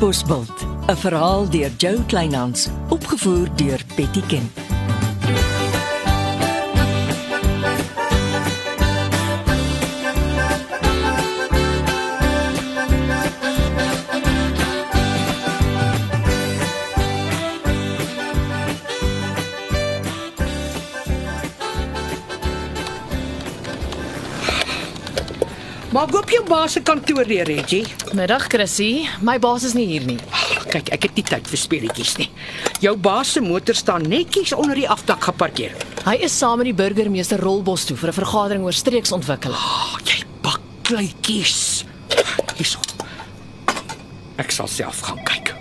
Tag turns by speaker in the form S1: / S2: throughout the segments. S1: Bosbult, 'n verhaal deur Jo Kleinhans, opgevoer deur Betty Ken.
S2: Maak op jou baas se kantoor weer, Reggie.
S3: Middag Chrissy, my baas is nie hier nie.
S2: Kyk, ek het nie tyd vir speletjies nie. Jou baas se motor staan netjies onder die afdak geparkeer.
S3: Hy is saam met die burgemeester Rolbos toe vir 'n vergadering oor streeksontwikkeling.
S2: Ag, oh, jy bakkluitjies. Hierso. Ek sal self gaan kyk.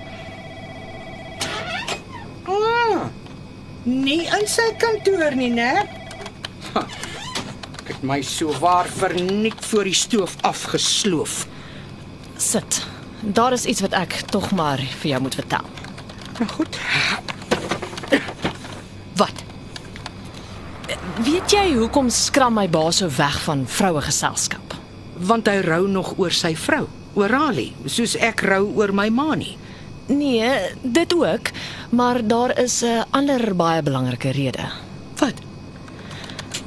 S2: Ah, nie in sy kantoor nie, né? Ha, Ek het my so waar verniet voor die stoof afgesloof.
S3: Sit. Daar is iets wat ek tog maar vir jou moet vertel.
S2: Nou goed.
S3: Wat? Weet jy hoekom skram my baas so weg van vroue geselskap?
S2: want hy rou nog oor sy vrou, oor Ali, soos ek rou oor my ma nie.
S3: Nee, dit ook, maar daar is 'n ander baie belangrike rede.
S2: Wat?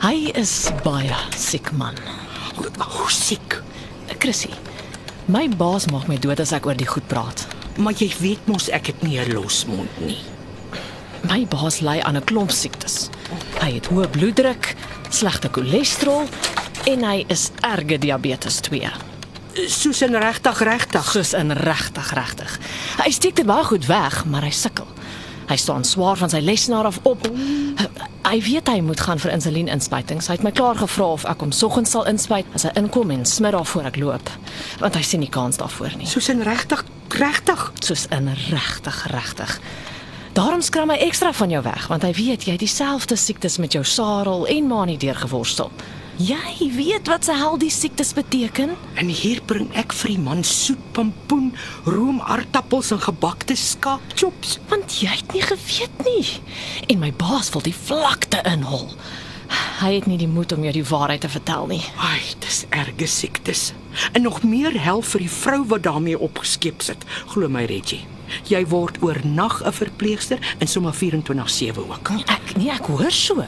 S3: Hy is baie siek man.
S2: Hoe siek?
S3: Chrissy, my baas maak my dood as ek oor die goed praat.
S2: Maar jy weet mos ek het nie 'n losmond nie.
S3: My baas ly aan 'n klomp siektes. Hy het hoë bloeddruk, slegte cholesterol en hy is erge diabetes 2.
S2: Soos in regtig regtig.
S3: Soos in regtig regtig. Hy steek dit baie goed weg, maar hy sukkel. Hy staan swaar van sy lesenaar af op. Hy weet hy moet gaan vir insulien-inspuitings. Hy het my klaar gevra of ek hom soggens sal inspuit as hy inkom en smiddag voor ek loop, want hy sien nie kans daarvoor nie.
S2: Soos in regtig regtig.
S3: soos in regtig regtig. Daarom skram hy ekstra van jou weg want hy weet jy het dieselfde siektes met jou sarel en manie deurgeworstel. Jy weet wat se hel die siektes beteken?
S2: En hier bring ek vir die man soet pampoen, roomartappels en gebakte skaapchops.
S3: Want jy het nie geweet nie. En my baas wil die vlakte inhol. Hy het nie die moed om jou die waarheid te vertel nie.
S2: Ai, dis erge siektes. En nog meer hel vir die vrou wat daarmee opgeskep sit. Glo my Reggie. Jy word oornag 'n verpleegster en sommer 24/7 ook.
S3: Ek nee, ek hoor so.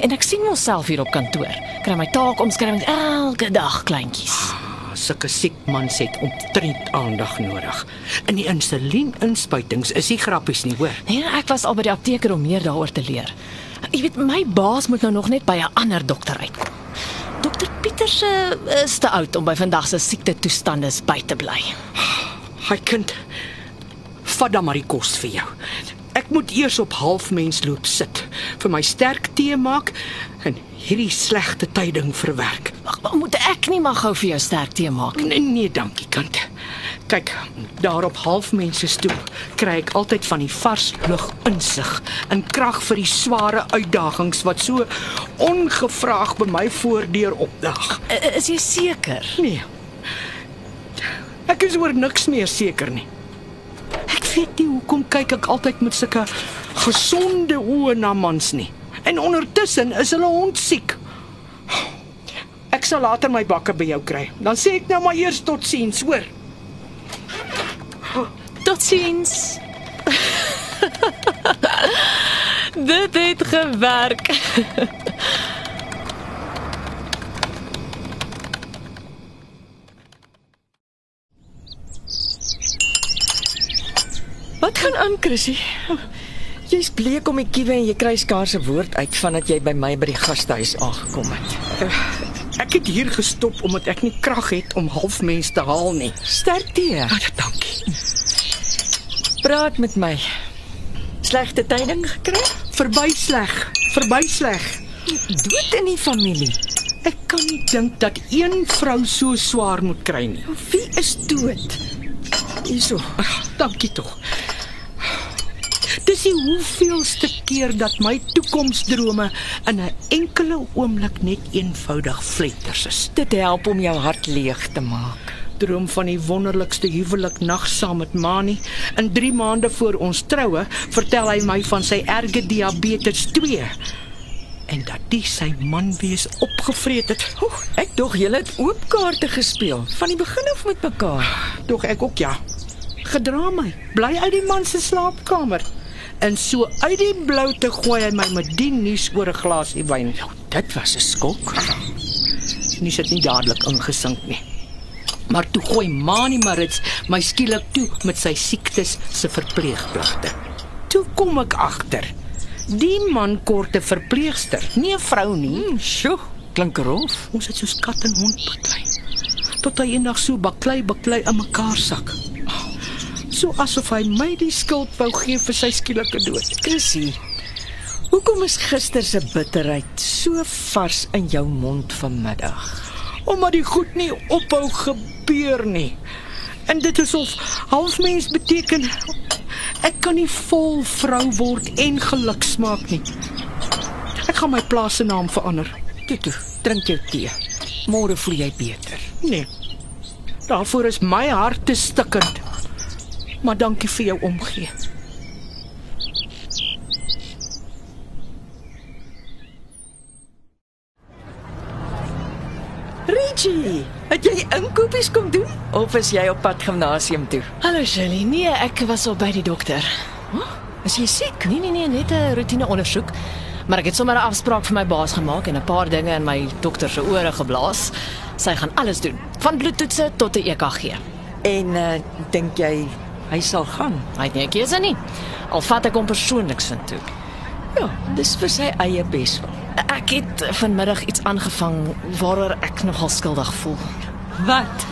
S3: En ek sien myself hier op kantoor. Kry my taakomskrywings elke dag kleintjies.
S2: Sulke siek mans het omtrent aandag nodig. In die insulien-inspuitings is nie grappies nie, hoor.
S3: Nee, ek was al by die apteker om meer daaroor te leer. Jy weet, my baas moet nou nog net by 'n ander dokter uitkom. Dokter Pieterse is te oud om by vandag se siekte toestande by te bly.
S2: Hy kind vat dan maar die kos vir jou. Ek moet eers op halfmens loop sit, vir my sterk tee maak en hierdie slegte tyding verwerk.
S3: Wag, maar moet ek nie maar gou vir jou sterk tee maak nie?
S2: Nee, nee, dankie kind. Kyk, daar op halfmense stoel kry ek altyd van die vars lug insig en krag vir die sware uitdagings wat so ongevraagd by my voordeur opdag.
S3: I- Is jy seker?
S2: Nee. Ek is oor niks meer seker nie. Ek weet nie hoekom kyk ek altyd met sulke gesonde oë na mans nie. En ondertussen is hulle hond siek. Ek sal later my bakke by jou kry. Dan sê ek nou maar eers totsiens, hoor.
S3: Totsiens. Dit het gewerk.
S4: Wat gaan aan, Chrissy? Jy's bleek om die kiewe en jy kry skaars 'n woord uit vandat jy by my by die gastehuis aangekom het.
S2: Eh, Ek het hier gestop omdat ek nie krag het om halfmens te haal nie.
S4: Sterkte.
S2: Baie dankie.
S4: Praat met my. Slegte tyding gekry?
S2: Verby sleg, verby sleg.
S4: Dood in die familie.
S2: Ek kan nie dink dat een vrou so swaar moet kry nie.
S4: Wie is dood? Hierso.
S2: Ag, Dankie tog. Dis die hoeveelste keer dat my toekomsdrome in 'n enkele oomblik net eenvoudig vletters is.
S4: Dit help om jou hart leeg te maak.
S2: Droom van die wonderlikste huwelik nag saam met Mani. In 3 maande voor ons troue vertel hy my van sy erge diabetes 2 en dat die sy man wees opgevreet het.
S4: Oeg, ek dog julle het oop kaarte gespeel van die begin af met mekaar.
S2: Tog ek ook ja.
S5: gedra my. Bly uit die man se slaapkamer. En so uit die blou te gooi hy my met die nuus oor 'n glasie wyn. Ja,
S2: Dit was 'n skok.
S5: Nuus het nie dadelik ingesink nie. Maar toe gooi Mani Marits my skielik toe met sy siektes se verpleegpligte. Toe kom ek agter. Die man kort 'n verpleegster, nie 'n vrou nie.
S2: Hmm, Sjoe, klink rof.
S5: Ons het soos kat en hond baklei. Tot hy eendag so baklei baklei in mekaar sak. So asof hy my die skuld wou gee vir sy skielike dood.
S2: Chrissy, hoekom is gister se bitterheid so vars in jou mond vanmiddag?
S5: Omdat die goed nie ophou gebeur nie. En dit is of halfmens beteken ek kan nie vol vrou word en geluk smaak nie. Ek gaan my plaas se naam verander.
S2: Toe toe, drink jou tee. Môre voel jy beter.
S5: Nee. Daarvoor is my hart te stikkend. Maar dankie vir jou omgee.
S2: Richie, het jy inkopies kom doen of is jy op pad gimnasium toe?
S3: Hallo Shirley. Nee, ek was al by die dokter.
S2: Is jy siek?
S3: Nee nee nee, net 'n roetine ondersoek. Maar ek het sommer 'n afspraak vir my baas gemaak en 'n paar dinge in my dokter se ore geblaas. Sy gaan alles doen, van bloedtoetse tot 'n E EKG.
S2: En uh, dink jy hy sal gaan?
S3: Hy het nie 'n keuse nie. Al vat ek hom persoonlik sin toe.
S2: Ja, dis vir sy eie beswil.
S3: Ek het vanmiddag iets aangevang waaroor ek nogal skuldig voel.
S2: Wat?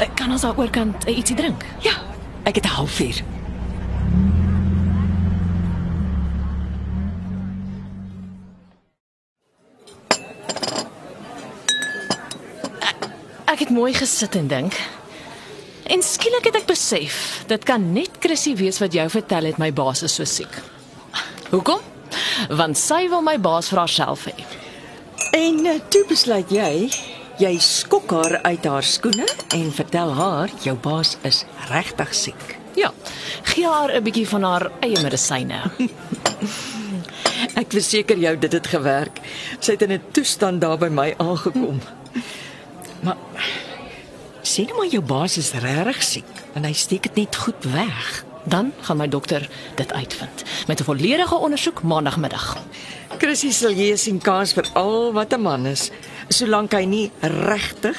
S3: Ek kan ons daaroor kan eh, ietsie drink.
S2: Ja, ek het 'n halfuur.
S3: Ek het mooi gesit en dink. En skielik het ek besef, dit kan net Chrissy wees wat jou vertel het my baas is so siek. Hoekom? Want sy wil my baas vir haarself hê.
S2: En uh, toe besluit jy jy skok haar uit haar skoene en vertel haar jou baas is regtig siek.
S3: Ja. Gee haar 'n bietjie van haar eie medisyne.
S2: Ek verseker jou dit het gewerk. Sy het in 'n toestand daar by my aangekom. Maar sê nou maar jou baas is regtig siek en hy steek dit net goed weg.
S3: Dan gaan my dokter dit uitvind met 'n volledige ondersoek maandagmiddag.
S2: Chrissy sal hier sien kans vir al wat 'n man is, solank hy nie regtig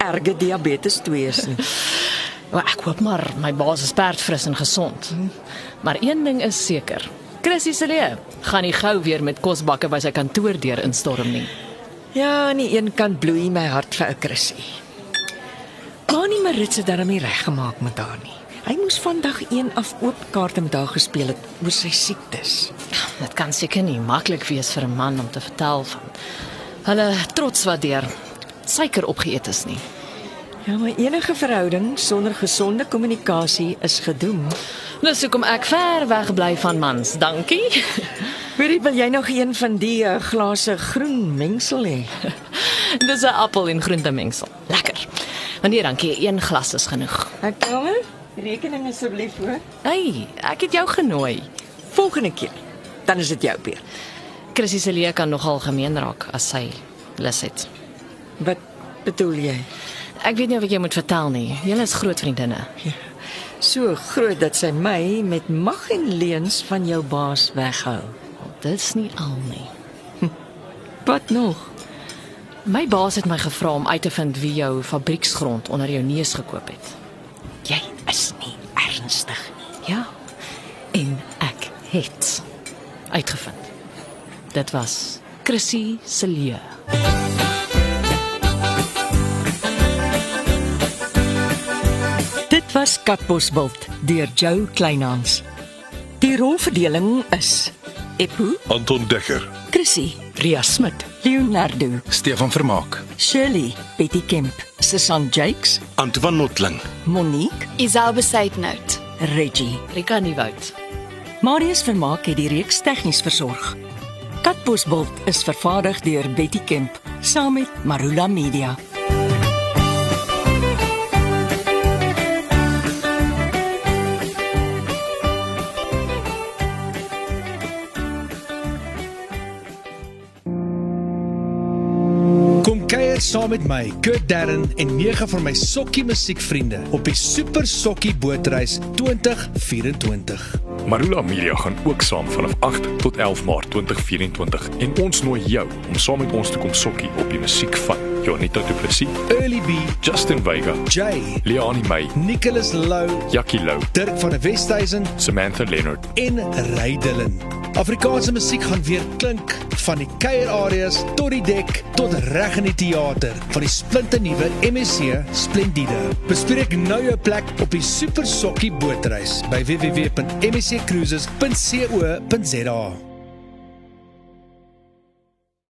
S2: erge diabetes 2 is nie.
S3: Maar ek hoop maar my baas is perdfris en gesond. Maar een ding is seker. Chrissy se lewe gaan nie gou weer met kosbakke by sy kantoor deur instorm nie.
S2: Ja, aan die een kant bloei my hart vir ou Chrissy. Maar nie Marits het daarmee reggemaak met haar nie. Hy moes vandag een af oop kaarte met haar gespeel het oor sy siektes.
S3: Dit kan seker nie maklik wees vir 'n man om te vertel van hulle trots wat deur suiker opgeëet is nie.
S2: Ja, maar enige verhouding sonder gesonde kommunikasie is gedoem.
S3: Dis hoekom ek ver weg bly van mans. Dankie.
S2: Hoorie, wil jy nog een van die uh, glase groen mengsel hê?
S3: Dis 'n appel en groente mengsel. Lekker. Wanneer dankie, een glas is genoeg.
S2: Ek kamer, rekening asseblief hoor.
S3: Hey, ek het jou genooi.
S2: Volgende keer dan is dit jou beurt.
S3: Chrissy se lewe kan nogal gemeen raak as sy lus het.
S2: Wat bedoel jy?
S3: Ek weet nie of ek jou moet vertel nie. Julle is groot vriendinne.
S2: So groot dat sy my met mag en leens van jou baas weghou.
S3: Dis nie al nie.
S2: Wat nog?
S3: My baas het my gevra om uit te vind wie jou fabrieksgrond onder jou neus gekoop het.
S2: Jy is nie ernstig nie.
S3: Ja. En ek het uitgevind. Dit was Chrissy Celia.
S2: Dit was Katbosveld deur Jo Kleinhans. Die rolverdeling is Epo,
S6: Anton Dekker,
S2: Chrissy,
S5: Ria Smit
S2: Leonardo,
S7: Stefan Vermaak,
S2: Shirley, Betty Kemp, Susan Jakes,
S6: Antoine Notling,
S2: Monique,
S8: Isel Besuitnout.
S2: Reggie.
S3: Rika Nieuwoud.
S2: Marius Vermaak het die reeks tegnies versorg. Katbosveld is vervaardig deur Betty Kemp saam met Marula Media.
S7: Kom kuier Kuier saam met my, Kurt Darren en nege van my sokkie musiekvriende op die Super Sokkie Bootreis 2024.
S9: Marula Media gaan ook saam vanaf 8 tot 11 Maart 2024 en ons nooi jou om saam met ons te kom sokkie op die musiek van Jonita Du Plessis,
S7: Early B,
S9: Justin Vega,
S7: Jay,
S9: Leoni May,
S7: Nicholas Lou,
S9: Jackie Lou,
S7: Dirk van der Westhuizen
S9: Samantha Leonard.
S7: en Rydelin. Afrikaanse musiek gaan weer klink van die kuierareas tot die dek tot reg in die teater van die splinternuwe MSC Splendide. Bespreek nou jou plek op die Super Sokkie bootreis by www.msccruises.co.za.